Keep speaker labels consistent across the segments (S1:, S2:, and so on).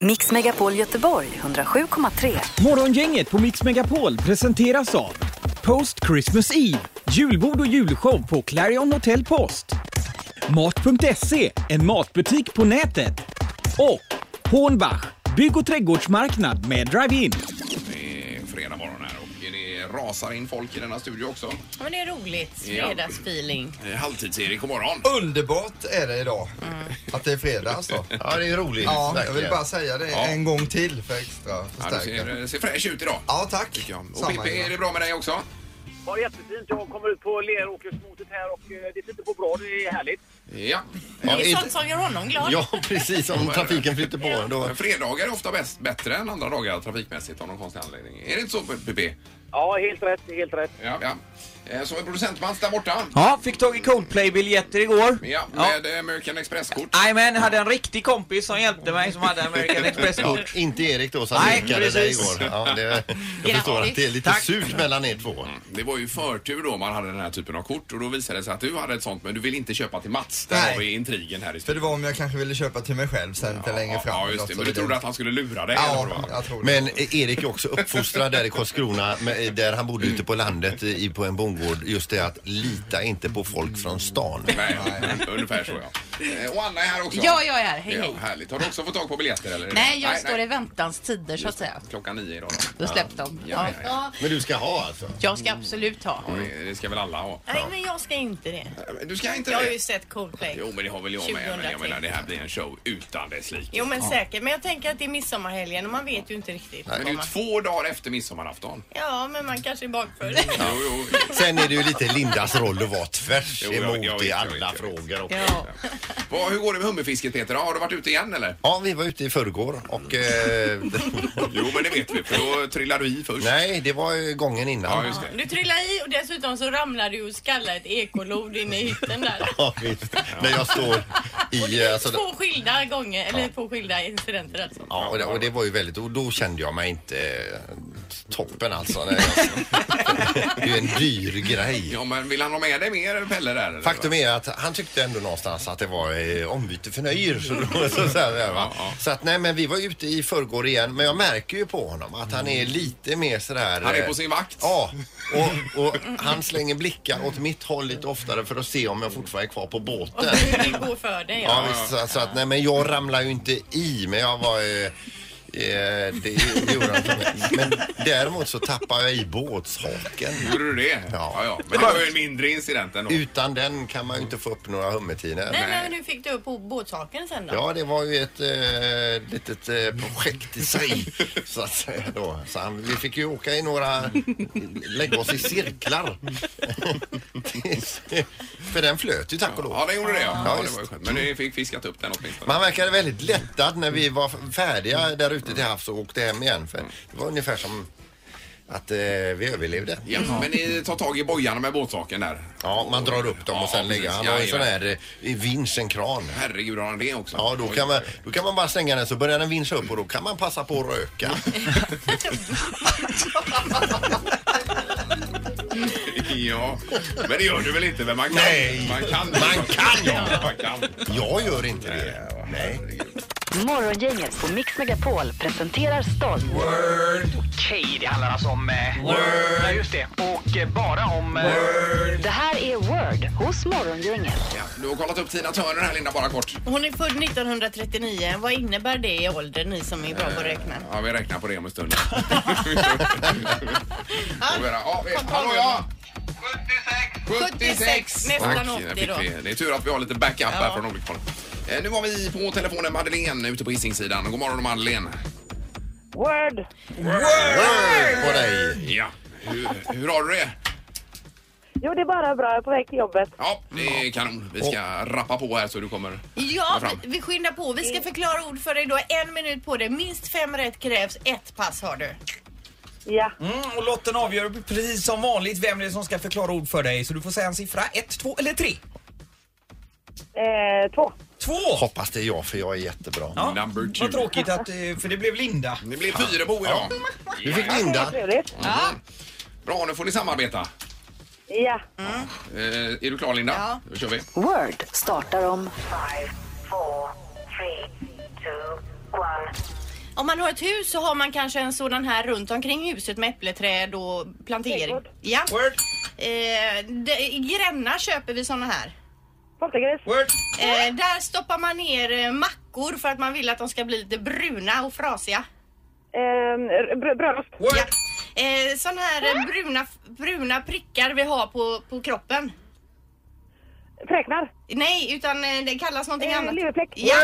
S1: Mix Megapol Göteborg 107,3.
S2: Morgongänget på Mix Megapol presenteras av Post Christmas Eve, julbord och julshow på Clarion Hotel Post. Mat.se, en matbutik på nätet. Och Hornbach, bygg och trädgårdsmarknad med drive-in.
S3: Det är fredag morgon här och det rasar in folk i denna studio också.
S4: Ja, men det är roligt.
S3: Ja.
S4: Fredagsfeeling.
S3: Eh, Halvtids-Erik, god morgon.
S5: Underbart är det idag.
S3: Mm.
S5: Att det är fredag alltså.
S6: Ja, det är roligt.
S5: Ja, jag
S6: verkligen.
S5: vill bara säga det
S3: Ja.
S5: en gång till för extra
S3: Ja, du ser,
S5: förstärkning.
S3: eh, ser fräsch ut idag.
S5: Ja, tack.
S3: tycker jag. Och
S5: Samma
S3: Pippi,
S5: här.
S3: är det bra med dig också?
S7: Ja, jättefint. Jag kommer ut på Leråkersmotet här och eh, det sitter på bra. Det är härligt.
S3: Ja.
S6: Ja,
S4: Det är
S6: inte-
S4: sånt som gör honom glad.
S6: ja, precis. Om trafiken flyter på då.
S3: Men Fredagar är ofta bäst, bättre än andra dagar trafikmässigt av någon konstig anledning. Är det inte så Pippi?
S7: Ja, helt rätt, helt rätt.
S3: Ja. ja. Eh, Så är producent Mats där borta.
S8: Ja, fick tag i Coldplay-biljetter igår.
S3: Ja, med eh, American Express-kort.
S8: Jajamän, hade en riktig kompis som hjälpte mig som hade American
S6: Ja,
S8: Express-kort.
S6: inte Erik då som
S8: Nej,
S6: nekade dig
S8: precis.
S6: igår. Ja, det, jag förstår att det är lite
S8: Tack.
S6: surt mellan er två.
S3: Det var ju förtur då man hade den här typen av kort och då visade det sig att du hade ett sånt men du vill inte köpa till Mats. Där
S5: Nej.
S3: har vi intrigen här i
S5: För
S3: studion.
S5: det var om jag kanske ville köpa till mig själv sen lite längre fram.
S3: Ja,
S5: eller
S3: just
S5: något
S3: det.
S5: så
S3: Men du
S5: vidare.
S3: trodde att han skulle lura dig? eller vad det
S5: Ja,
S3: var?
S5: jag tror det.
S6: Men Erik är också uppfostrad där i Karlskrona med- där han bodde ute på landet i, på en bondgård. Just det att lita inte på folk från stan.
S3: Nej, ungefär så ja. Eh, Och Anna är här också.
S4: Ja, jag är här. Hej, hej.
S3: härligt. Har du också fått tag på biljetter eller?
S4: Nej, jag står i väntans tider så att säga.
S3: Klockan nio idag då.
S4: Då släppte de. Ja,
S3: Ja, ja, ja.
S6: Men du ska ha alltså?
S4: Jag ska absolut ha.
S3: Det- Det ska väl alla ha. Eh,
S4: Nej, men jag ska inte det.
S3: Du ska inte
S4: Jag har
S3: det?
S4: ju sett Coldplay.
S3: Jo, men det har väl jag med. Men jag
S4: 2003.
S3: menar, det här blir en show utan dess like.
S4: Jo, men säkert. Men jag tänker att det är midsommarhelgen och man vet ju inte riktigt.
S3: Men det är ju två dagar efter midsommarafton.
S4: Ja, men man kanske är bakfull.
S3: Jo, jo.
S6: Sen är det ju lite Lindas roll att vara tvärs
S3: Jo,
S6: emot
S3: jag- jag vet,
S6: i
S3: jag
S6: alla
S3: vet, jag vet.
S6: frågor. Och...
S4: Ja.
S3: Vad- Hur går det med hummerfisket Peter? Har du varit ute igen eller?
S6: Ja, vi var ute i förrgår och... Eh,
S3: Jo, men det vet vi. För då trillar du i först.
S6: nej, det var ju gången
S3: Ja,
S6: innan.
S3: just det.
S4: Du trillade i och dessutom så ramlade du och skallade ett ekolod inne i hytten där.
S6: Ja, visst. När jag står
S4: Och
S6: i...
S4: det
S6: eh,
S4: är
S6: Alltså,
S4: två skilda gånger, eller två skilda incidenter alltså.
S6: ja, och det, och det var ju väldigt... Och då kände jag mig inte eh, toppen alltså. När jag, det är ju en dyr grej.
S3: Ja, men vill han ha med dig mer Pelle där? Eller?
S6: Faktum är att han tyckte ändå någonstans att det var eh, ombyte för nöjer. Så, då- så, så, här, va?
S3: Ja, ja.
S6: så att nej men vi var ute i förrgår igen men jag märker ju på honom att han är lite mer sådär.
S3: Han är
S6: eh,
S3: på sin vakt.
S6: Ja, och, och han slänger blickar åt mitt håll lite oftare för att se om jag fortfarande är kvar på
S4: Och
S6: båten.
S4: du vill gå för dig.
S6: Ja, visst, så, så att nej men jag ramlar ju inte i men jag var eh, eh, det gjorde han inte med. Men däremot så tappar jag i båtshaken.
S3: Gjorde du det?
S6: Ja.
S3: ja, Men det var ju en mindre incident ändå.
S6: Utan den kan man ju inte få upp några hummertinor.
S4: Nej, men hur fick du upp båtsaken sen då?
S6: Ja, det var ju ett eh, litet eh, projekt i sig så att säga då. Så han, vi fick ju åka i några, lägga oss i cirklar. För den flöt ju tack och lov.
S3: Ja, den gjorde det ja. ja, det
S6: just.
S3: var ju skönt. Men ni fick fiskat upp den åtminstone.
S6: Man verkade väldigt lättad när vi var färdiga där ute till havs och åkte hem igen. För det var ungefär som att eh, vi överlevde.
S3: Ja, men ni tar tag i bojarna med båtsaken där.
S6: Ja, man drar upp dem och
S3: Ja,
S6: sen lägger. Han har ju en sån här eh, vinsch, en kran.
S3: Herregud, har han det också?
S6: Ja, då kan, man, då kan man bara slänga den så börjar den vinscha upp och då kan man passa på att röka.
S3: Ja, men det gör du väl inte? Men man kan.
S6: Nej.
S3: man kan.
S6: Man kan,
S3: ja. Man kan.
S6: Jag gör inte det. Nej.
S1: Morgongänget på Mix Megapol presenterar stolt.
S8: Okej, det handlar alltså om... Word! Ja, just det. Och eh, bara om...
S1: Det här är Word hos Morgongänget.
S3: Ja, du har kollat upp Tina Turner här Linda, bara kort.
S4: Hon är född 1939. Vad innebär det i ålder, ni som är bra på att räkna?
S3: Ja, vi räknar på det om en stund. Får vi höra. ja, vi, hallå ja! 76!
S4: 76, nästan
S3: Tack,
S4: 80
S3: där fick
S4: då.
S3: vi. Det är tur att vi har lite backup här
S4: Ja.
S3: från olika håll. Eh, Nu har vi på telefonen Madeleine ute på Hisingssidan. God morgon Madeleine!
S7: Word!
S6: På dig.
S3: Ja, hur, hur har du det?
S7: Jo, det är bara bra. Jag är på väg till jobbet.
S3: Ja, det är kanon. Vi ska rappa på här så du kommer.
S4: Ja,
S3: fram.
S4: vi, vi skyndar på. Vi ska förklara ord för dig. Du har en minut på dig. Minst fem rätt krävs. Ett pass har du.
S7: Ja.
S8: Mm, och lotten avgör precis som vanligt vem det är som ska förklara ord för dig. Så du får säga en siffra. Ett, två eller tre.
S7: Eh, två.
S8: Två!
S6: Hoppas det är jag för jag är jättebra.
S8: Ja,
S3: Number two.
S8: Vad tråkigt att... eh, För det blev Linda.
S3: Det blir Fyrebo idag.
S6: Du fick
S7: Vad
S6: Linda.
S7: trevligt.
S3: Bra, nu får ni samarbeta.
S7: Ja.
S3: Eh, är du klar Linda?
S4: Ja.
S3: Då kör vi.
S1: Word startar om
S4: Om man har ett hus så har man kanske en sådan här runt omkring huset med äppleträd och plantering.
S9: Trädgård.
S4: Ja.
S8: Word,
S4: Eh, det- I Gränna köper vi såna här.
S9: Poltergris.
S8: word.
S4: Eh, där stoppar man ner eh, mackor för att man vill att de ska bli lite bruna och frasiga.
S9: Ehm, br- brödrost.
S8: Word.
S4: Ja. Eh, sån här eh, bruna, bruna prickar vi har på, på kroppen.
S9: Fräknar.
S4: Nej, utan eh, det kallas någonting
S9: Eh,
S4: annat.
S9: leverfläck.
S4: Ja.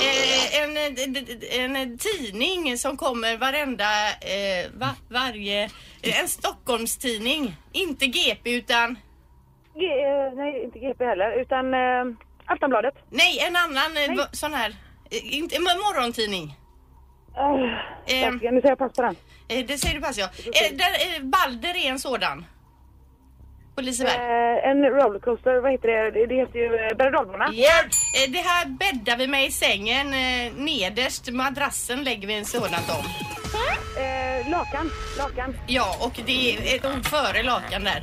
S4: Eh, en, eh, d- d- d- en tidning som kommer varenda, eh, va, varje, eh, en Stockholmstidning. Inte GP utan,
S9: G- eh, nej, inte GP heller, utan eh, Aftonbladet.
S4: nej en annan eh, va- sån här, eh, inte, en morgontidning.
S9: Uh,
S4: Ehm.
S9: Nu säger jag pass på den.
S4: Eh, det säger du pass ja. Eh, där, eh, Balder är en sådan. På Liseberg.
S9: Eh, en rollercoaster, vad heter det? Det, det heter ju eh, berg och dalbana.
S4: Ja. Eh, Det här bäddar vi med i sängen. eh, Nederst madrassen lägger vi en sådant om.
S9: Eh, lakan. Lakan.
S4: Ja, och det är ett ord före lakan där.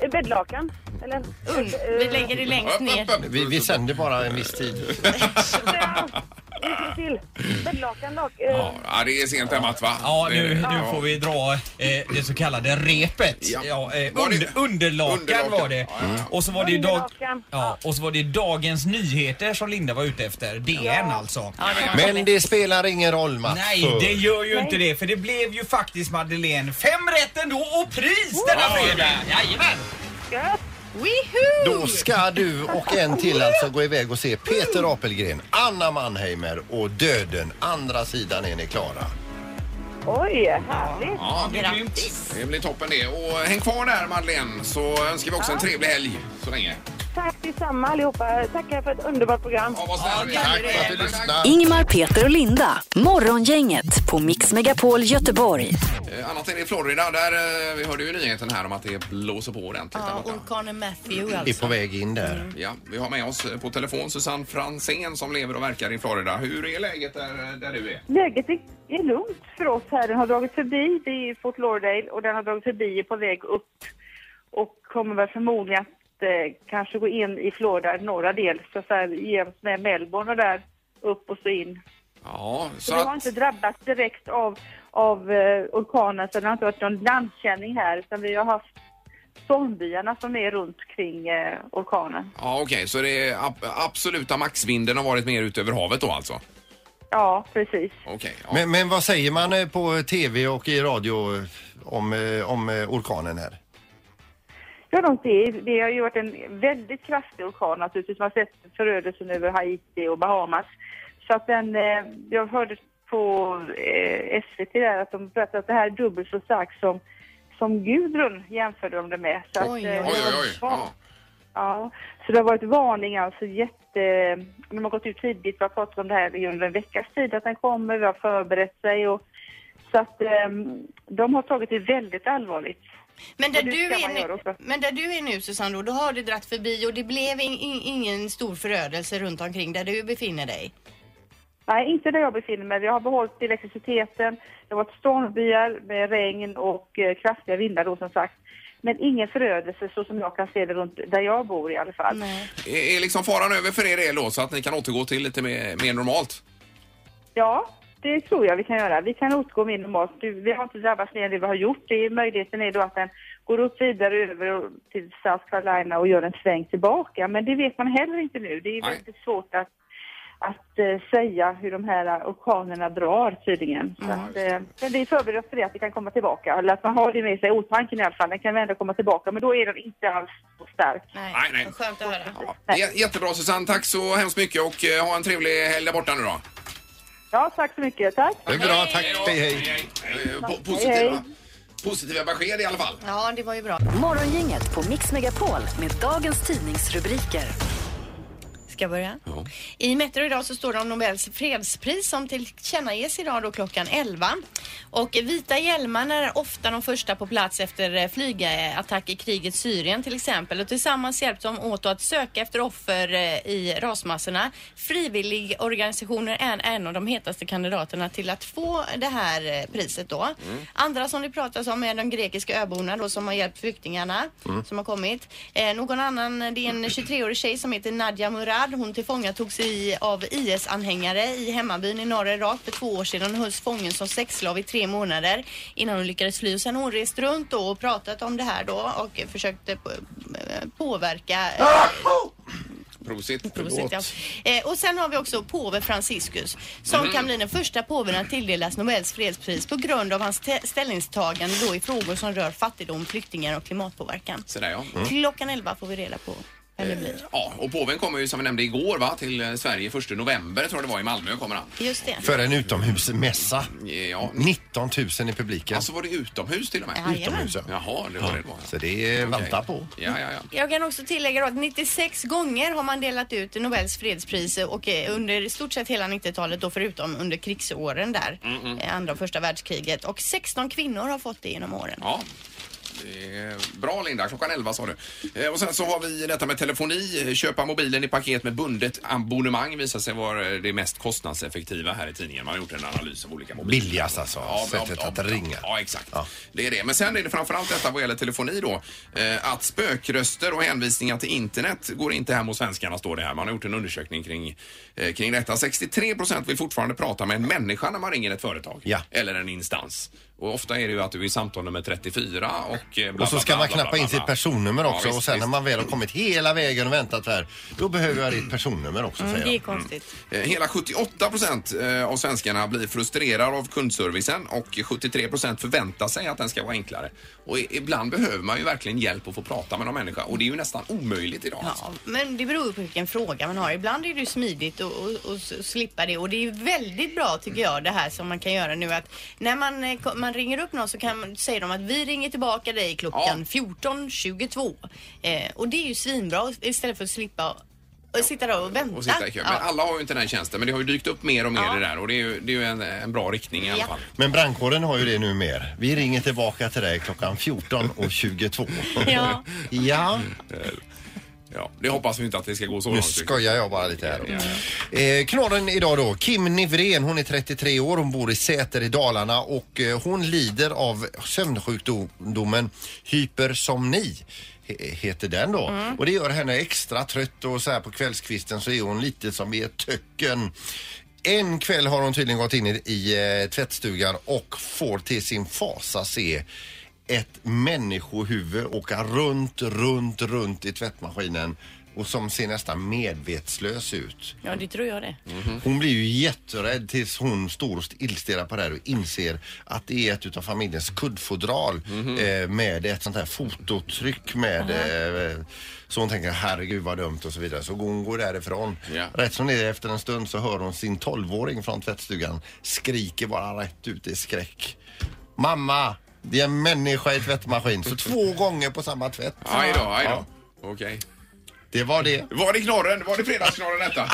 S9: Eh, Bäddlakan. Eller? Eh,
S4: Und, vi lägger det längst
S3: Upp,
S4: ner.
S3: upp, upp.
S6: Vi, vi sänder bara en viss tid.
S9: Ja, hur ska det till? Bäddlakan, lak... Eh,
S3: Ja, ja, det är sent hemma va?
S8: Ja, nu,
S3: Det-
S8: nu
S3: ja.
S8: får vi dra eh, det så kallade repet. Ja.
S3: Ja.
S8: eh,
S3: Var det-
S8: under, underlakan,
S3: underlakan.
S8: var det.
S3: Ja, ja, ja.
S8: Och, så var det ju dag,
S9: Underlakan.
S8: ja, och så var det Dagens Nyheter som Linda var ute efter. DN alltså.
S6: Men det spelar ingen roll Mats.
S8: Nej, det gör ju inte det. För det blev ju faktiskt Madeleine fem rätt ändå och pris denna fredag. Jajamän!
S9: gött.
S6: Då
S4: Wihoo!
S6: ska du och en till alltså gå iväg och se Peter Apelgren, Anna Mannheimer och Döden. Andra sidan är ni klara.
S9: Oj, härligt.
S3: Ja,
S4: Grattis!
S3: det blir toppen det. Och häng kvar där Madeleine så önskar vi också en trevlig helg så länge.
S9: Tack detsamma allihopa. Tackar för ett underbart program.
S3: Ja, vad snäll du är.
S6: Tack för att du lyssnade.
S1: Ingmar, Peter och Linda. Morgongänget på Mix Megapol Göteborg.
S3: Eh, Annat än i Florida, där eh, vi hörde ju nyheten här om att det blåser på ordentligt där
S4: Ja,
S3: borta.
S4: orkanen Matthew
S6: Är
S4: alltså.
S6: på väg in där.
S3: Ja, vi har med oss eh, på telefon Susanne Fransén som lever och verkar i Florida. Hur är läget där, där du är?
S9: Läget är, är lugnt för oss här. Den har dragit förbi, det är Fort Lauderdale, och den har dragit förbi är på väg upp och kommer väl förmodligen att eh, kanske gå in i Florida, norra del, så att säga jäms med Melbourne och där upp och så in.
S3: Ja, så
S9: Så det har
S3: att...
S9: inte drabbats direkt av, av eh, orkanen, så det har inte varit någon landkänning här, utan vi har haft stormbyarna som är runt kring eh, orkanen.
S3: Ja, okej, så det är ab- absoluta maxvinden har varit mer ut över havet då alltså?
S9: Ja, precis.
S3: Okej. ja.
S6: Men, men vad säger man eh, på tv och i radio eh, om, eh, om eh, orkanen här?
S9: Ja, de- det, det har ju varit en väldigt kraftig orkan naturligtvis. Man har sett förödelsen över Haiti och Bahamas. Så att den, eh, jag hörde på eh, SVT där att de berättade att det här är dubbelt så starkt som, som Gudrun jämförde de det med. Så att,
S4: Oj,
S9: eh, det
S3: Oj, oj,
S9: har
S3: oj.
S9: varit van-
S3: Ja.
S9: Ja, så det har varit varning alltså jätte... De har gått ut tidigt, vi har pratat om det här i under en veckas tid att den kommer, vi har förberett sig och så att eh, de har tagit det väldigt allvarligt.
S4: Men där,
S9: Och det
S4: du
S9: ska
S4: är
S9: man göra
S4: nu,
S9: också.
S4: men där du är nu Susanne, då, då har det dratt förbi och det blev in, in, ingen stor förödelse runt omkring där du befinner dig.
S9: Nej, inte där jag befinner mig. Vi har behållit elektriciteten. Det har varit stormbyar med regn och eh, kraftiga vindar då som sagt. Men ingen förödelse så som jag kan se det runt där jag bor i alla fall.
S4: Nej.
S3: Är är liksom faran över för er del då så att ni kan återgå till lite mer, mer normalt?
S9: Ja, det tror jag vi kan göra. Vi kan återgå mer normalt. Du, Vi har inte drabbats mer än det vi har gjort. Det är, möjligheten är då att den går upp vidare över och- till South Carolina och gör en sväng tillbaka. Men det vet man heller inte nu. Det är
S3: Nej.
S9: väldigt svårt att, att eh, säga hur de här eh, orkanerna drar tydligen. Så att, eh, men vi förbereder oss för det, att det kan komma tillbaka. Eller att man har det med sig, otanken i alla fall. Den kan ändå komma tillbaka, men då är den inte alls så stark.
S4: Nej,
S3: Nej, nej.
S4: vad Skönt att höra.
S3: Ja. J- jättebra Susanne, tack så hemskt mycket och eh, ha en trevlig helg där borta nu då.
S9: Ja, tack så mycket. Tack!
S6: Det är bra, tack. Hej, hej.
S3: Eh, po-
S9: Hej,
S3: Positiva,
S9: hej.
S3: positiva besked i alla fall.
S4: Ja, det var ju bra.
S1: Morgongänget på Mix Megapol med dagens tidningsrubriker.
S4: Ska jag börja? I Metro idag så står det om Nobels fredspris som tillkännages idag då klockan 11. Och vita hjälmarna är ofta de första på plats efter eh, flygattack i kriget Syrien till exempel. Och tillsammans hjälps de åt att söka efter offer eh, i rasmassorna. Frivilligorganisationer är en av de hetaste kandidaterna till att få det här eh, priset då. Andra som det pratas om är de grekiska öborna då som har hjälpt flyktingarna som har kommit. Eh, någon annan, det är en 23-årig tjej som heter Nadia Murad Asad. Hon tillfångatogs i, av IS-anhängare i hemmabyn i norra Irak för två år sedan och hölls fången som sexslav i tre månader innan hon lyckades fly. Och sen har hon rest runt då och pratat om det här då och eh, försökt eh, påverka eh,
S3: Prosit.
S4: Prosit, ja. eh, och sen har vi också påve Franciscus som kan bli den första påven att tilldelas Nobels fredspris på grund av hans te- ställningstagande då i frågor som rör fattigdom, flyktingar och klimatpåverkan.
S3: Så där, ja.
S4: Klockan 11 får vi reda på vem det blir.
S3: ja. Och påven kommer ju som vi nämnde igår va, till eh, Sverige 1 november tror jag det var i Malmö kommer han.
S4: Just det.
S6: För en utomhusmässa.
S3: Ja.
S6: Mm. 19 000 i publiken.
S3: Alltså var det utomhus till och med?
S4: Jajamän.
S6: utomhus, ja.
S3: Jaha, det var det det var.
S6: Så det är vänta på.
S3: Ja, ja, ja.
S4: Jag kan också tillägga då att 96 gånger har man delat ut Nobels fredspris och eh, under i stort sett hela 90-talet då förutom under krigsåren där, eh, andra och första världskriget. Och 16 kvinnor har fått det genom åren.
S3: ja. Det är Bra Linda, klockan 11 sa du. Eh, Och sen så har vi detta med telefoni. Köpa mobilen i paket med bundet abonnemang visar sig vara det mest kostnadseffektiva här i tidningen. Man har gjort en analys av olika mobiler.
S6: Billigast alltså, sättet att ringa.
S3: Ja, exakt.
S6: Ja.
S3: Det är det. Men sen är det framförallt detta vad gäller telefoni då. Eh, att spökröster och hänvisningar till internet går inte hem hos svenskarna står det här. Man har gjort en undersökning kring, eh, kring detta. 63 procent vill fortfarande prata med en människa när man ringer ett företag.
S6: Ja.
S3: Eller en instans. Och ofta är det ju att du är i samtal nummer 34 och eh, bla, bla,
S6: Och så ska
S3: bla,
S6: man
S3: bla, bla,
S6: knappa
S3: bla,
S6: in sitt
S3: bla.
S6: personnummer
S3: Ja,
S6: också
S3: visst,
S6: och sen när
S3: visst.
S6: man väl har kommit hela vägen och väntat här, då behöver jag ditt personnummer också
S4: Mm,
S6: säger
S4: det är
S6: jag.
S4: konstigt.
S3: Eh, Hela 78 procent eh, av svenskarna blir frustrerade av kundservicen och 73 procent förväntar sig att den ska vara enklare. Och i- ibland behöver man ju verkligen hjälp att få prata med någon människa och det är ju nästan omöjligt idag. alltså,
S4: Ja, men det beror ju på vilken fråga man har. Ibland är det ju smidigt att och, och, s- slippa det och det är ju väldigt bra tycker jag det här som man kan göra nu att när man, eh, ko- man ringer upp någon så kan, man- säger de att vi ringer tillbaka dig klockan 14.22 eh, och det är ju svinbra istället för att slippa och sitta där och vänta.
S3: Och sitta i kö. Men
S4: Ja.
S3: alla har ju inte den här tjänsten men det har ju dykt upp mer och mer
S4: Ja.
S3: det där och det är ju, det är ju en, en bra riktning i alla
S4: Ja.
S3: fall.
S6: Men brandkåren har ju det nu mer. Vi ringer tillbaka till dig klockan 14 och 22.
S4: Ja.
S6: ja.
S3: Ja, det hoppas vi inte att det ska gå så
S6: Nu
S3: långt.
S6: skojar jag bara lite här. då. Eh, knorren idag då. Kim Nivrén, hon är 33 år, hon bor i Säter i Dalarna och eh, hon lider av sömnsjukdomen hypersomni. he- Heter den då. Och det gör henne extra trött och så här på kvällskvisten så är hon lite som i ett töcken. En kväll har hon tydligen gått in i, i eh, tvättstugan och får till sin fasa se ett människohuvud åka runt, runt, runt i tvättmaskinen och som ser nästan medvetslös ut.
S4: ja, det tror jag det.
S6: Hon blir ju jätterädd tills hon står och illstirrar på det här och inser att det är ett utav familjens kuddfodral eh, med ett sånt här fototryck med eh, så hon tänker herregud vad dumt och så vidare. Så hon går därifrån.
S3: Ja.
S6: Rätt som det är efter en stund så hör hon sin tolvåring från tvättstugan skriker bara rätt ut i skräck. Mamma! Det är en människa i tvättmaskin. Så två gånger på samma tvätt.
S3: Aj då, aj då.
S6: Ja,
S3: Okej.
S6: det var det.
S3: Var det knorren? Var det fredagsknorren detta?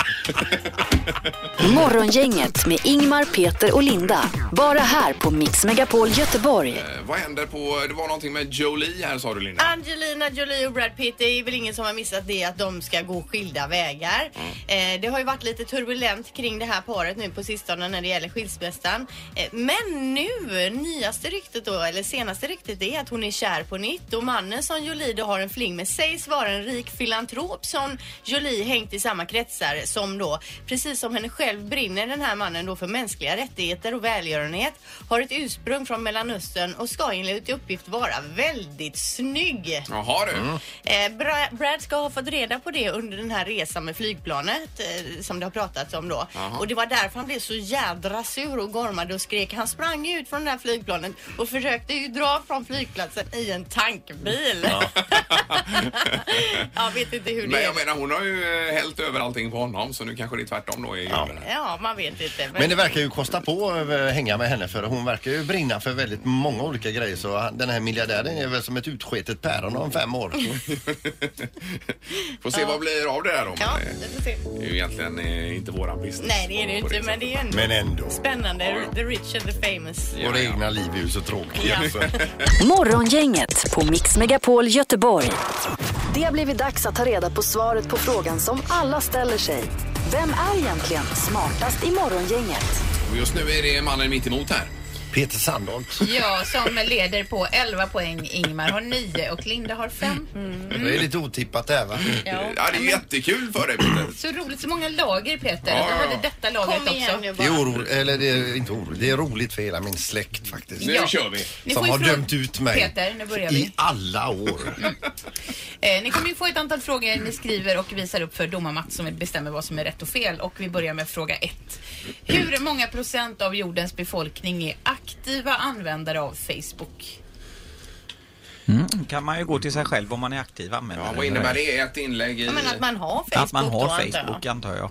S1: Morgongänget med Ingmar, Peter och Linda. Bara här på Mix Megapol Göteborg.
S3: Eh, Vad händer på... Det var någonting med Jolie här sa du Linda.
S4: Ah. Angelina Jolie och Brad Pitt, det är väl ingen som har missat det att de ska gå skilda vägar. Eh, det har ju varit lite turbulent kring det här paret nu på sistone när det gäller skilsmässan. Eh, men nu, nyaste ryktet då, eller senaste ryktet det är att hon är kär på nytt och mannen som Jolie då har en fling med sägs vara en rik filantrop som Jolie hängt i samma kretsar som då, precis som henne själv brinner den här mannen då för mänskliga rättigheter och välgörenhet, har ett ursprung från Mellanöstern och ska enligt uppgift vara väldigt snygg.
S3: Jaha du.
S6: Mm.
S4: Eh, Bra- Brad ska ha fått reda på det under den här resan med flygplanet eh, som det har pratats om då.
S3: Jaha.
S4: Och det var därför han blev så jädra sur och gormade och skrek. Han sprang ju ut från det här flygplanet och försökte ju dra från flygplatsen i en tankbil. Ja. jag vet inte hur det
S3: Men
S4: är.
S3: jag menar hon har ju eh, hällt över allting på honom så nu kanske det är tvärtom då i julen. här.
S4: Ja, man vet inte. Men,
S6: Men det verkar ju kosta på att eh, hänga med henne för hon verkar ju brinna för väldigt många olika grejer så han- den här miljardären är väl som ett utsketet päron om fem år.
S3: Får se vad blir av det där då.
S4: ja,
S3: Men, eh,
S4: vi får se.
S3: Det är ju egentligen eh, inte våran business.
S4: Nej, det är det ju
S3: På
S4: inte. Men det är ju ändå
S6: Men ändå.
S4: spännande. The rich and the famous.
S3: sättet.
S6: Våra
S3: Ja, ja.
S6: egna liv är ju så tråkiga.
S4: Ja.
S6: så.
S1: Morgongänget på Mix Megapol Göteborg. Det har blivit dags att ta reda på svaret på frågan som alla ställer sig. Vem är egentligen smartast i morgongänget?
S3: Och just nu är det mannen mitt emot här.
S6: Peter Sandholt.
S10: Ja, som leder på 11 poäng. Ingmar har 9 och Linda har 5.
S4: Mm.
S10: Mm.
S6: Det är lite otippat det här va?
S10: Ja.
S3: Ja, det är jättekul för dig Peter.
S10: Så roligt, så många lager Peter.
S6: Ja,
S10: att du
S6: ja, ja.
S10: hade detta lagret
S4: Kom igen
S10: också.
S4: nu
S6: Det är, oro, eller det är inte oro, det är roligt för hela min släkt faktiskt.
S10: Nu Ja. kör vi. Ni får
S6: Som
S10: ju
S6: har
S10: fråga-
S6: dömt ut mig
S10: Peter, nu börjar vi. Mm.
S6: i alla år.
S10: Eh, ni kommer ju få ett antal frågor ni skriver och visar upp för domarmatt som bestämmer vad som är rätt och fel. Och vi börjar med fråga ett. Hur många procent av jordens befolkning är aktiva användare av Facebook?
S8: Mm, kan man ju gå till sig själv om man är aktiv användare.
S3: Ja, vad innebär det? Ett inlägg i...
S10: Ja, men att man har Facebook
S8: Att man har
S10: då, antar jag.
S8: Facebook antar jag.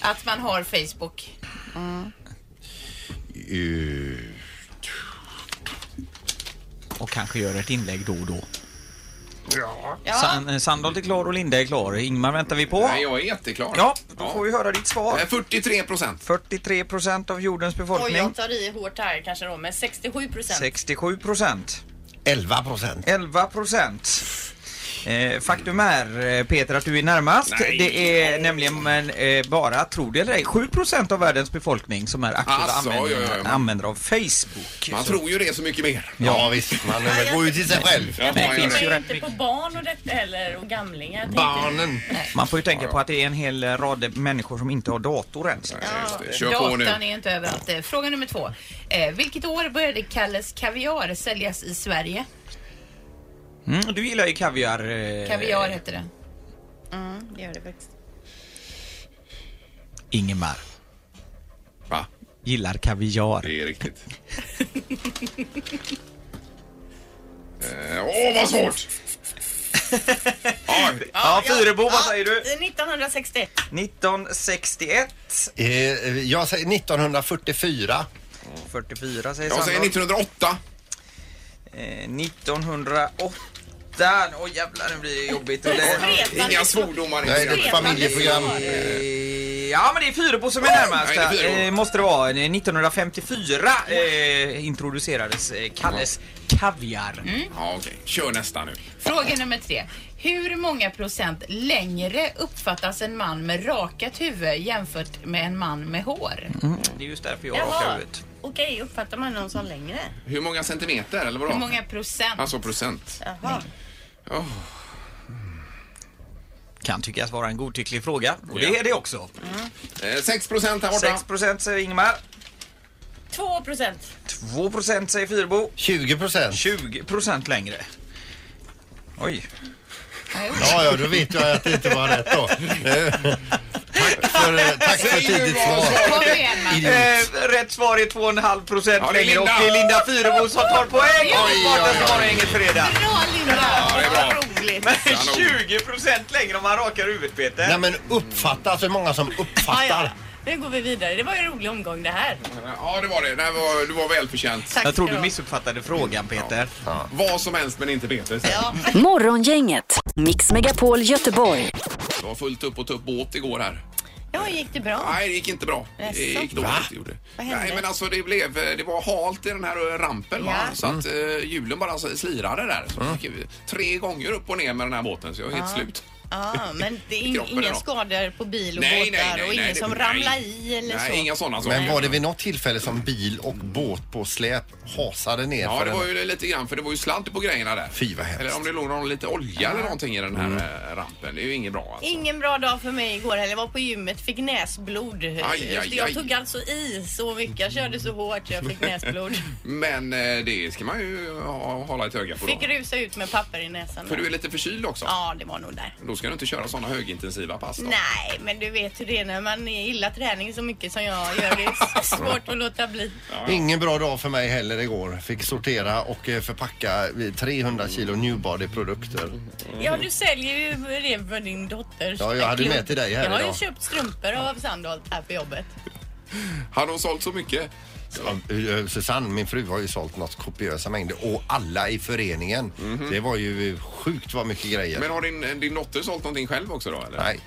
S10: Att man har Facebook.
S6: eh,
S8: Och kanske gör ett inlägg då och då.
S6: Ja.
S8: San, eh, Sandholt är klar och Linda är klar. Ingmar väntar vi på.
S3: Nej, jag är jätteklar.
S8: Ja, då får vi höra ditt svar.
S3: 43 procent.
S8: 43 procent av jordens
S4: Oj,
S8: befolkning.
S4: jag tar i hårt här kanske då, men 67 procent.
S8: 67 procent.
S6: 11 procent.
S8: 11 procent. Eh, faktum är eh, Peter att du är närmast.
S3: Nej.
S8: Det är nämligen eh, bara, tror det eller ej, 7 procent av världens befolkning som är aktiva
S3: Asså,
S8: användare,
S3: ja, ja, ja.
S8: användare av Facebook.
S3: Man
S8: Så-
S3: tror ju det är så mycket mer.
S6: Ja, visst, man eh, går ju till sig själv.
S3: Ja, man gör
S8: finns ju
S3: det.
S8: rätt
S4: Inte på barn och detta heller och gamlingar. tänkte jag.
S6: Barnen.
S8: Man får ju tänka på att det är en hel eh, rad människor som inte har dator ens.
S3: Ja, just det. Kör på
S10: Datan
S3: nu.
S10: är inte överallt. Eh, Fråga nummer två. Eh, vilket år började Kalles Kaviar säljas i Sverige?
S8: Mm, du gillar ju kaviar. eh,
S10: Kaviar hette det.
S4: Mm, det gör det faktiskt.
S8: Ingemar.
S3: Va?
S8: Gillar kaviar.
S3: Det är riktigt. Eh, Åh, vad svårt! Oj,
S8: Ja, Fyrebo, vad säger du?
S4: 1961.
S8: 1961.
S6: Eh, eh, Jag säger 1944.
S8: 44 säger
S3: jag säger
S8: Sandholt.
S3: 1908.
S8: Eh, 1908. Åh jävlar, nu blir det jobbigt. Och det...
S3: Inga svordomar.
S6: Nej, det
S3: inga-
S6: är ett familjeprogram.
S8: Eh, Ja men det är Fyrebo som är närmast.
S3: Nej, det är Fyrebo.
S8: eh, måste det vara. Eh, 1954 eh, introducerades eh, Kalles Kaviar.
S3: Ja, okej. Kör nästa nu.
S10: Fråga nummer tre. Hur många procent längre uppfattas en man med rakat huvud jämfört med en man med hår?
S3: Mm.
S8: Det är just därför jag rakar
S4: Jaha.
S8: huvudet.
S4: Okej, uppfattar man någon som alltså, längre?
S3: Hur många centimeter, eller vadå?
S10: Hur många procent?
S3: Alltså procent.
S4: Jaha.
S8: Kan tyckas vara en godtycklig fråga. Och det är det också.
S3: Eh, 6 procent här borta.
S8: 6% säger Ingmar.
S4: 2 procent.
S8: 2% säger Fyrebo.
S6: 20 procent.
S8: 20% längre. Oj.
S6: Ja, ja, då vet jag att det inte var rätt då. Eh, Tack för, eh, tack för tidigt svar.
S10: Kom igen man.
S8: Eh, rätt svar är 2,5%
S3: Ja, det är
S8: längre och
S3: Linda.
S8: det är Linda Fyrebo som tar poäng.
S10: Oj,
S8: Och
S10: oj,
S8: startar morgongänget fredag.
S10: Bra Linda!
S3: det är bra.
S4: Roligt.
S8: Men
S3: Kanon.
S8: 20% längre om man rakar huvudet Peter.
S6: Nej, men uppfatta, så många som
S4: Ja, ja.
S6: uppfattar.
S4: Nu går vi vidare. Det var ju en rolig omgång det här.
S3: Ja, det var det. det var, du var välförtjänt.
S4: Tack
S8: Jag tror
S4: ska
S8: du
S4: ha.
S8: missuppfattade frågan Peter.
S3: Vad som helst, men inte Peter.
S4: Ja.
S1: Morgongänget, Mix Megapol Göteborg.
S3: Det var fullt upp och ta upp båt igår här.
S4: ja, gick det bra?
S3: Nej, det gick inte bra. Det
S4: Jaså?
S3: gick dåligt. det Gjorde.
S4: Vad hände?
S3: Nej, men alltså det blev, det var halt i den här eh, rampen va?
S4: Ja. Mm.
S3: så att eh, hjulen bara slirade där. Så fick vi tre gånger upp och ner med den här båten så jag är helt slut.
S4: Ja, men det är in,
S3: Kroppen
S4: inga
S3: då.
S4: skador på bil och
S3: Nej, nej,
S4: båtar
S3: nej,
S4: och
S3: nej,
S4: ingen
S3: det-
S4: som
S3: nej.
S4: ramlar i eller
S3: Nej, alltså.
S4: så.
S3: inga sådana saker.
S6: Men var det vid något tillfälle som bil och båt på släp hasade ner
S3: Ja,
S6: för
S3: det
S6: en-
S3: var ju lite grann för det var ju sladd på grejerna där.
S6: Fy, vad hemskt. Mm.
S3: Eller om det låg någon lite olja eller någonting i den här eh, rampen. Det är ju inget bra alltså.
S4: Ingen bra dag för mig igår heller. Jag var på gymmet, fick näsblod.
S3: aj,
S4: Så jag
S3: aj.
S4: tog alltså i så mycket. Jag körde så hårt så jag fick näsblod.
S3: Men eh, det ska man ju ha, hålla ett öga på då.
S4: Fick rusa ut med papper i näsan.
S3: För du är lite förkyld också.
S4: Ja, det var nog där.
S3: Då ska du inte köra sådana högintensiva pass då.
S4: Nej, men du vet hur det är när man gillar träning så mycket som jag gör. Det är s- svårt att låta bli.
S6: Ingen bra dag för mig heller igår. Fick sortera och eh, förpacka eh, 300 kilo Newbody-produkter.
S4: Ja, du säljer ju det för din dotter.
S6: Ja, jag hade ju med till dig här
S4: Jag har ju
S6: idag.
S4: köpt strumpor av Sandholt här på jobbet.
S3: Har de sålt så mycket?
S6: Ja, eh, Susanne, min fru, har ju sålt något kopiösa mängder och alla i föreningen. Det var ju eh, sjukt vad mycket grejer.
S3: Men har din, din dotter sålt någonting själv också då eller?
S6: Nej.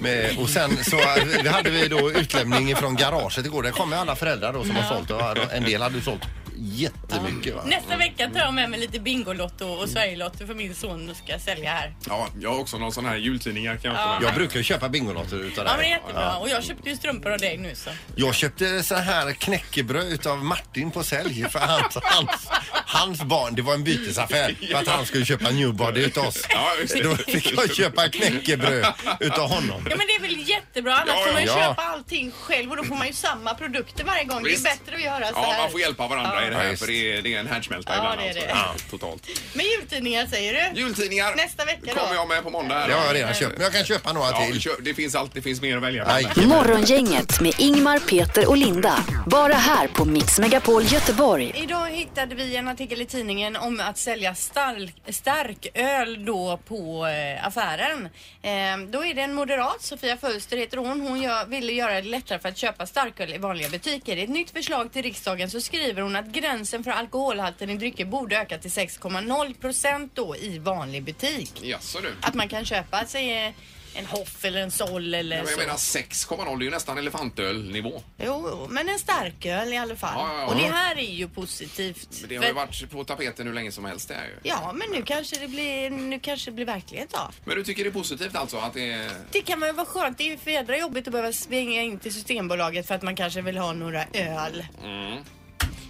S6: Men, och sen så eh, hade vi då utlämning från garaget igår. Där kom ju alla föräldrar då som har sålt. Och en del hade ju sålt jättemycket. Va?
S4: Nästa vecka tar jag med mig lite Bingolotto och Sverigelotter för min son ska sälja här.
S3: Ja, jag har också någon sån här jultidningar kan jag
S4: Ja.
S3: ta med mig.
S4: Jag
S6: brukar ju köpa Bingolotter utav
S4: Ja, men det är jättebra. Och jag köpte ju strumpor av dig nu så.
S6: Jag köpte så här knäckebröd utav Martin på sälj för hans, hans, hans barn. Det var en bytesaffär för att han skulle köpa Newbody utav oss.
S3: just det.
S6: Då fick jag köpa knäckebröd utav honom.
S4: Ja men det är väl jättebra, annars
S6: Ja, ja.
S4: får man ju
S6: Ja.
S4: köpa allting själv och då får man ju samma produkter varje gång.
S3: Visst.
S4: Det är bättre att göra så
S3: Ja,
S4: här.
S3: man får hjälpa varandra i det
S6: Ja,
S3: här
S6: just.
S3: för det är, det är en härdsmälta
S4: Ja,
S3: ibland.
S4: det är det.
S3: Alltså. Ja, totalt.
S4: Men jultidningar säger du?
S3: Jultidningar.
S4: Nästa vecka då?
S3: kommer jag med på måndag. här
S6: Det
S3: då.
S6: har jag redan köpt, men jag kan köpa några
S3: Ja,
S6: till.
S3: kö- det finns allt, det finns mer att välja
S6: Aj.
S1: Morgongänget med Ingmar, Peter och Linda. Bara här på Mix Megapol Göteborg.
S4: Idag hittade vi en artikel i tidningen om att sälja stark, stark öl då på eh, affären. Eh, då är det en moderat, Sofia Fölster heter hon. Hon gör, ville göra det lättare för att köpa starköl i vanliga butiker. I ett nytt förslag till riksdagen så skriver hon att gränsen för alkoholhalten i drycker borde öka till 6,0 procent då i vanlig butik.
S3: Jaså du.
S4: Att man kan köpa sig eh, en Hoff eller en Sol eller
S3: Ja, men
S4: så.
S3: Jag menar 6,0 det är ju nästan elefantölnivå.
S4: Jo, men en starköl i alla fall.
S3: Ja, ja, ja.
S4: Och det här är ju positivt.
S3: Men det har ju
S4: För-
S3: varit på tapeten hur länge som helst det här ju.
S4: Ja, men nu kanske det blir, nu kanske det blir verklighet då.
S3: Men du tycker det är positivt alltså att det är...
S4: Det kan väl vara skönt. Det är ju för jädra jobbigt att behöva svänga in till Systembolaget för att man kanske vill ha några öl.
S3: Mm.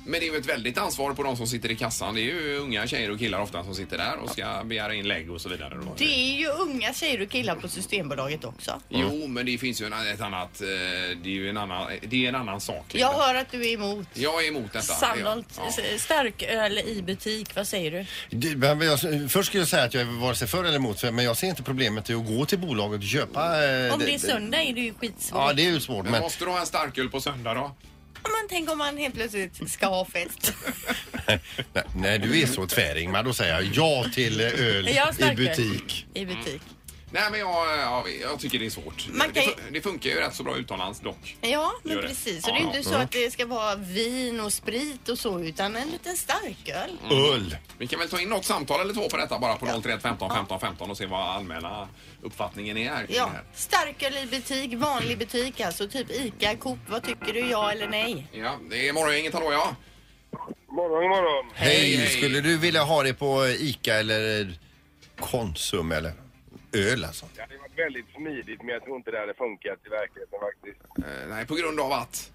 S3: Men det är ju ett väldigt ansvar på de som sitter i kassan. Det är ju unga tjejer och killar ofta som sitter där och ska begära in lägg och så vidare. Då.
S4: Det är ju unga tjejer och killar på Systembolaget också.
S3: Jo, men det finns ju en, ett annat... eh, Det är ju en annan, det är en annan sak.
S4: Jag hör att du är emot
S3: Jag är emot detta.
S4: Sannolikt
S3: Ja.
S4: s- starköl i butik. Vad säger du?
S6: Det- men jag- Först skulle jag säga att jag är vare sig för eller emot, för- men jag ser inte problemet i att gå till bolaget och köpa. eh,
S4: Om det är söndag är det ju skitsvårt.
S6: Ja, det är ju svårt.
S3: Men
S6: Men
S3: måste du ha en starköl på söndag då?
S4: Ja, Men tänk om man helt plötsligt ska ha fest.
S6: Nej, nej, du är så tvär Ingmar. Då säger jag ja till eh, öl
S4: Ja,
S6: i
S4: starköl.
S6: butik.
S4: I
S3: Mm.
S4: butik.
S3: Nej, men jag, ja, jag tycker det är svårt.
S4: Man
S3: det,
S4: kan ju-
S3: fun- det funkar ju rätt så bra utomlands dock.
S4: Ja, men
S3: Gör det.
S4: precis. Och det
S3: Ja,
S4: är ju
S3: ja.
S4: inte så
S3: Mm.
S4: att det ska vara vin och sprit och så, utan en liten starköl.
S6: Öl.
S3: Vi kan väl ta in något samtal eller två på detta bara på 031 15 15 15 och se vad allmänna uppfattningen är här. kring
S4: Ja,
S3: det här.
S4: starköl i butik, vanlig butik alltså, typ ICA, Coop. Vad tycker du, ja eller nej?
S3: ja det är morgongänget, hallå ja.
S11: Morgon, morgon.
S6: Hej, skulle du vilja ha det på ICA eller Konsum eller öl alltså?
S11: Det hade varit väldigt smidigt, men jag tror inte det hade funkat i verkligheten faktiskt.
S3: Eh, nej, på grund av att?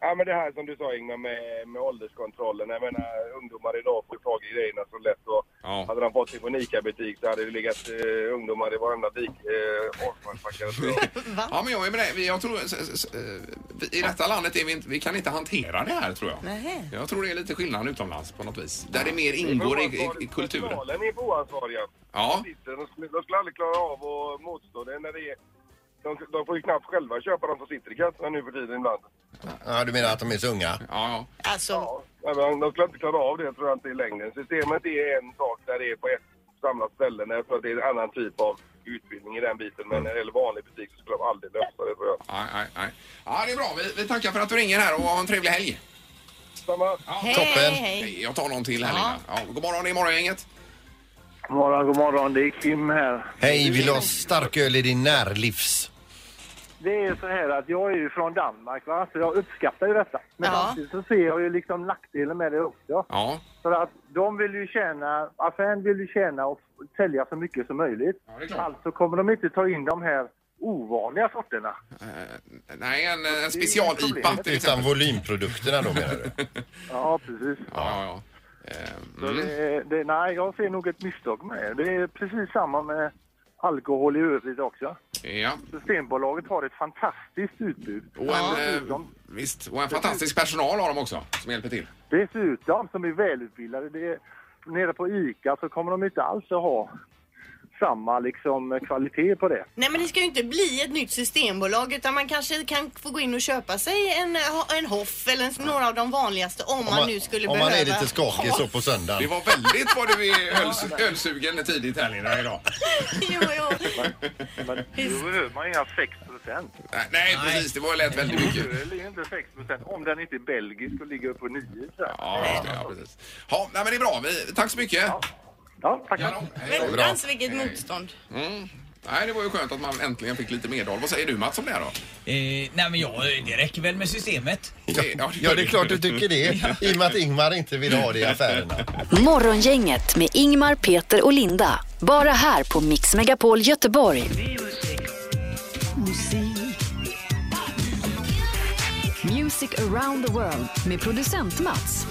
S11: Ja, men det här som du sa Ingmar med, med ålderskontrollen. Jag menar, ungdomar idag får tag i grejerna så lätt. Och
S3: Ja.
S11: Hade de fått det på en ICA-butik så hade det legat eh, ungdomar i varenda dik. Eh, avfallspackare, tror jag.
S3: Ja, men jag är med dig. Jag tror, s- s- s- eh, vi- I detta landet är vi inte, vi kan inte hantera det här tror jag.
S4: Nej.
S3: Jag tror det är lite skillnad utomlands på något vis. Där det mer ingår i, i, i kulturen.
S11: Personalen är för oansvariga.
S3: Ja.
S11: De, sitter, de, skulle- de skulle aldrig klara av att motstå det när det är... De, de får ju knappt själva köpa de som sitter i kassan nu för tiden ibland.
S6: Ja, du menar att de är så unga?
S3: Ja,
S4: Alltså,
S11: Ja, men de skulle inte klara av det tror jag inte i längden. Systemet är en sak där det är på ett samlat ställe. Jag tror att det är en annan typ av utbildning i den biten. Men när det gäller vanlig butik så skulle de aldrig lösa det tror jag.
S3: Nej, nej, nej. Ja, det är bra. Vi, vi tackar för att du ringer här och ha en trevlig helg.
S11: Samma.
S3: Ja,
S4: Hej,
S3: toppen.
S4: hej.
S3: Hej, Jag tar någon till här Linda. ja. God morgon, det är morgongänget.
S11: God morgon, god morgon. Det är Kim här.
S6: Hej, vill du ha starköl i din närlivs?
S7: Det är så här att jag är ju från Danmark va, så jag uppskattar ju detta. Men
S4: Ja.
S7: samtidigt så ser jag ju liksom nackdelen med det också.
S3: Ja,
S7: För att de vill ju tjäna, affären vill ju tjäna och sälja så mycket som möjligt.
S3: det är klart.
S7: Alltså kommer de inte ta in de här ovanliga sorterna.
S3: Eh, nej, en, en
S7: problemet.
S3: special-IPA till
S6: Utan
S3: exempel.
S6: volymprodukterna då menar du?
S7: Ja, precis.
S3: Ja, ja, ja.
S7: Så
S3: Eh, Mm.
S7: det, det, nej, jag ser nog ett misstag med det. Det är precis samma med alkohol i övrigt också.
S3: Ja,
S7: Systembolaget har ett fantastiskt utbud.
S3: och en, eh, visst, och en fantastisk personal har de också som hjälper till.
S7: Dessutom, som är välutbildade, det är, nere på ICA så kommer de inte alls att ha samma liksom, kvalitet på det.
S4: nej men det ska ju inte bli ett nytt systembolag utan man kanske kan få gå in och köpa sig en, en Hoff eller en, några av de vanligaste om, man, nu skulle
S6: om man
S4: behöva.
S6: är lite skakig så på
S3: Det
S6: söndagen.
S3: var väldigt vad du är öls- ölsugen tidigt här Linda idag.
S4: jo, jo.
S7: Men
S4: Visst.
S7: då behöver man inga 6 procent.
S3: Nej, nej, precis. Det var lätt väldigt mycket.
S7: Öl är ju inte 6 procent om den inte är belgisk och ligger upp på 9
S3: Ja, just det, ja, precis. Ja, nej, men det är bra. Vi, tack så mycket.
S7: Ja, tack.
S3: Ja, då. Hej då.
S4: Väntans vilket motstånd.
S3: Mm. Nej, det var ju skönt att man äntligen fick lite medhåll. Vad säger du Mats om det här då?
S8: Eh, nej men ja, det räcker väl med systemet.
S3: Ja,
S6: Ja, det är klart du tycker det. I och med att Ingmar inte vill ha det i affärerna.
S1: Morgongänget med Ingmar, Peter och Linda. Bara här på Mix Megapol Göteborg. Music around the world med producent Mats.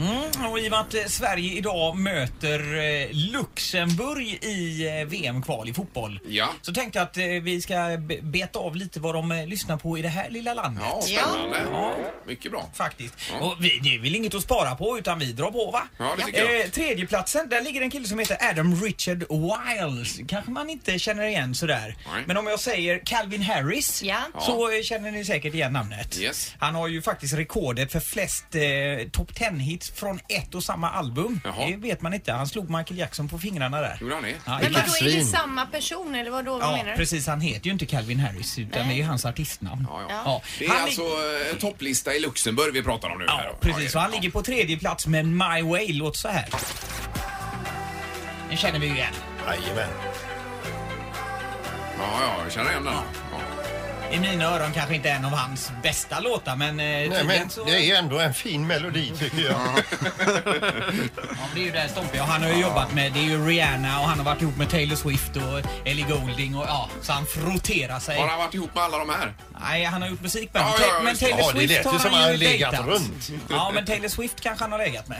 S8: Mm, och i och med att eh, Sverige idag möter eh, Luxemburg i eh, VM-kval i fotboll.
S3: Ja.
S8: Så tänkte jag att eh, vi ska be- beta av lite vad de eh, lyssnar på i det här lilla landet.
S3: Ja, spännande. Mycket bra.
S8: Faktiskt. Och vi, det är väl inget att spara på utan vi drar på va?
S3: Ja, det tycker jag.
S8: Eh, tredjeplatsen, där ligger en kille som heter Adam Richard Wiles. Kanske man inte känner igen sådär. Men om jag säger Calvin Harris så eh, känner ni säkert igen namnet.
S3: Yes.
S8: Han har ju faktiskt rekordet för flest eh, topp 10-hits från ett och samma album. Det vet man inte. Han slog Michael Jackson på fingrarna där.
S3: Gjorde han det?
S8: Ja,
S4: Men vadå, är det
S8: Svin.
S4: samma person eller vadå, vad
S8: Ja,
S4: menar du?
S8: precis. Han heter ju inte Calvin Harris utan
S4: Nej.
S8: det är ju hans artistnamn.
S4: Ja.
S3: Det är
S8: Han lig-
S3: alltså eh, en topplista i Luxemburg vi pratar om nu. här då.
S8: Precis, och han ligger på tredje plats med My Way. Låt så här. Den känner vi ju igen.
S6: Jajamän.
S3: Ja, ja, jag känner igen den.
S8: I mina öron kanske inte en av hans bästa låtar men... eh,
S6: Nej, men det är ändå en fin melodi tycker jag.
S8: Ja, det är ju det Stompe. Och han har ju jobbat med, det är ju Rihanna och han har varit ihop med Taylor Swift och Ellie Golding och ja, så han frotterar sig.
S3: Har han varit ihop med alla de här?
S8: Nej, han har gjort musik med
S3: Ja,
S8: dem.
S3: ja,
S8: Ta-
S3: ja,
S8: Men
S3: just det.
S8: Taylor
S3: Ja, det
S8: Swift
S3: lät ju
S8: har
S3: som
S8: han
S3: han
S8: ju
S3: legat
S8: dejtat.
S3: runt.
S8: Ja, men Taylor Swift kanske han har legat med.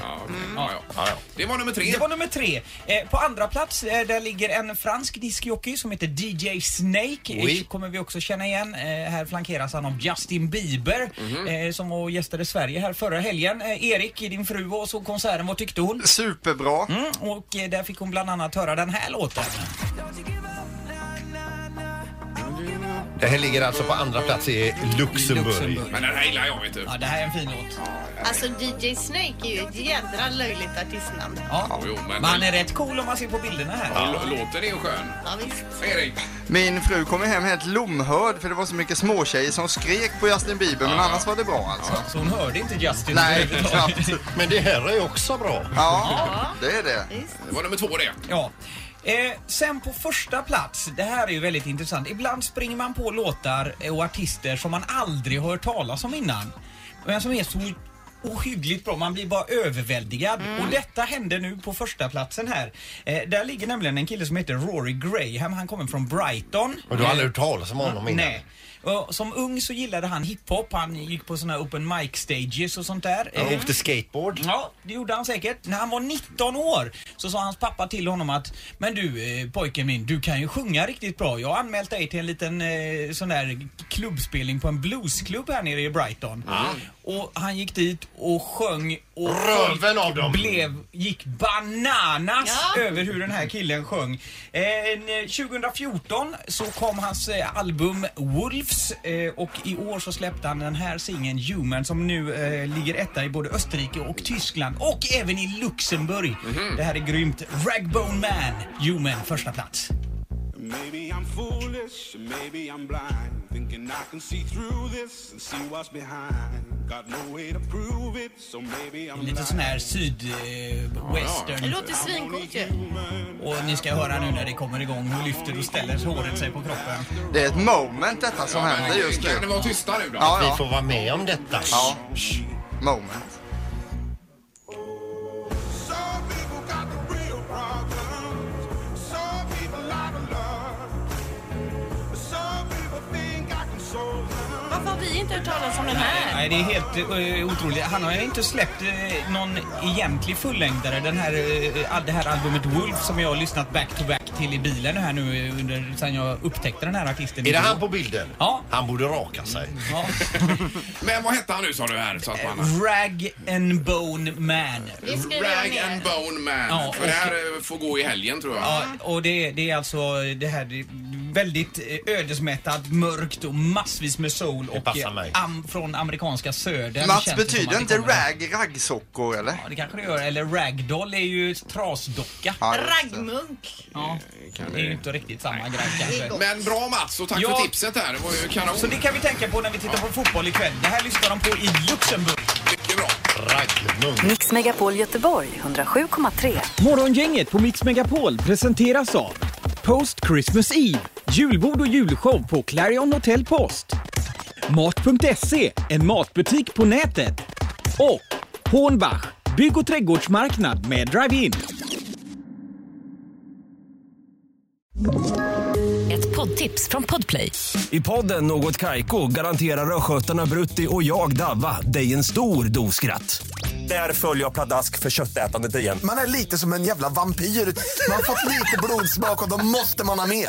S3: Ja, ja. Det var nummer tre.
S8: Det var nummer tre. Eh, på andra plats eh, där ligger en fransk diskjockey som heter DJ Snake. Eh,
S6: Oui.
S8: kommer vi också känna igen. Eh, här flankeras han av Justin Bieber eh, som var och gästade Sverige här förra helgen. Eh, Erik, din fru var och såg konserten. Vad tyckte hon?
S12: Superbra.
S8: Mm, och eh, där fick hon bland annat höra den här låten.
S6: Det här ligger alltså på andra plats i Luxemburg.
S3: Men den här gillar jag vet du.
S8: Ja, det här är en fin låt.
S4: Alltså DJ Snake är ju ett jädra löjligt artistnamn.
S8: Ja.
S3: Jo, men...
S8: Men han är rätt cool om man ser på bilderna här.
S3: Ja, l- Låten är ju skön.
S4: Ja, visst.
S3: Erik.
S12: Min fru kom ju hem helt lomhörd för det var så mycket småtjejer som skrek på Justin Bieber men annars var det bra alltså.
S8: Så hon hörde inte Justin
S12: Nej,
S8: överhuvudtaget.
S12: knappt.
S6: Men det här är också bra.
S12: Ja, det är det.
S3: Det var nummer två det.
S8: Ja. Eh, sen på första plats, det här är ju väldigt intressant. Ibland springer man på låtar och artister som man aldrig har hört talas om innan. Men som är så ohyggligt bra, man blir bara överväldigad. Och detta hände nu på första platsen här. Eh, där ligger nämligen en kille som heter Rory Graham, han kommer från Brighton. Eh,
S6: Och du har aldrig hört talas om honom innan?
S8: Nej. Och som ung så gillade han hiphop, han gick på såna här open mic stages och sånt där.
S6: Jag
S8: Eh,
S6: åkte skateboard.
S8: Ja, det gjorde han säkert. När han var 19 år så sa hans pappa till honom att Men du eh, pojken min, du kan ju sjunga riktigt bra. Jag har anmält dig till en liten eh, sån där klubbspelning på en bluesklubb här nere i Brighton. Och han gick dit och sjöng och
S6: Röven
S8: folk
S6: av dem.
S8: Blev, gick bananas över hur den här killen sjöng. Eh, n- 2014 så kom hans eh, album Wolves eh, och i år så släppte han den här singeln Human som nu eh, ligger etta i både Österrike och Tyskland och även i Luxemburg. Det här är grymt. Ragbone Man, Human, första plats.
S13: Maybe I'm foolish, maybe I'm blind, thinking I can see through this and see what's behind. Got no way to prove it, so maybe I'm
S8: Lite sån här sydwestern. Eh, western.
S4: Det låter svincoolt ju.
S8: Och ni ska höra nu när det kommer igång, hon lyfter och ställer håret sig på kroppen.
S12: Det är ett moment detta som händer just nu.
S3: Kan ni vara tysta nu då?
S12: Ja, ja.
S6: Vi får vara med om detta.
S12: Ja. Moment.
S13: Some people out of love. Some people think I can solve them.
S4: Varför har vi inte hört talas om den här?
S8: Nej, det är helt eh, otroligt. Han har ju inte släppt eh, någon egentlig fullängdare. Den här, eh, all- det här albumet Wolf som jag har lyssnat back to back till i bilen här nu eh, under, sen jag upptäckte den här artisten.
S6: Är det
S8: igår.
S6: han på bilden?
S8: Ja.
S6: Han borde raka sig.
S8: Ja.
S3: Men vad hette han nu sa du här? Så att man...
S8: Rag and Bone Man.
S4: Det skriver jag
S3: Rag and
S4: ner.
S3: Bone Man.
S8: Ja,
S3: För det här eh, får gå i helgen tror jag.
S8: Ja, och det, det är alltså det här det är väldigt eh, ödesmättat, mörkt och massvis med soul och
S6: passar
S8: eh,
S6: mig.
S8: am, från amerikanska södern. känns det
S12: Mats,
S8: som att
S12: betyder
S8: det
S12: inte
S8: kommer-
S12: rag raggsockor eller?
S8: Ja, det kanske det gör. Eller ragdoll är ju trasdocka.
S12: Ja, just det.
S4: Raggmunk.
S8: Ja, det är ju inte riktigt samma grej kanske.
S3: Men bra Mats och tack
S8: Ja.
S3: för tipset här. Det var ju kanon.
S8: Så det kan vi tänka på när vi tittar på fotboll ikväll. Det här lyssnar de på i Luxemburg.
S3: Mycket bra.
S6: Raggmunk.
S1: Mix Megapol Göteborg 107,3.
S2: Morgongänget på Mix Megapol presenteras av
S14: Post Christmas Eve, julbord och julshow på Clarion Hotel Post. Mat.se, en matbutik på nätet. Och Hornbach, bygg och trädgårdsmarknad med drive-in.
S8: Ett poddtips från Podplay. I podden Något Kaiko garanterar östgötarna Brutti och jag, Davva, dig en stor dos skratt. Där följer jag pladask för köttätandet igen.
S3: Man är lite som en jävla vampyr. Man har fått lite blodsmak och då måste man ha mer.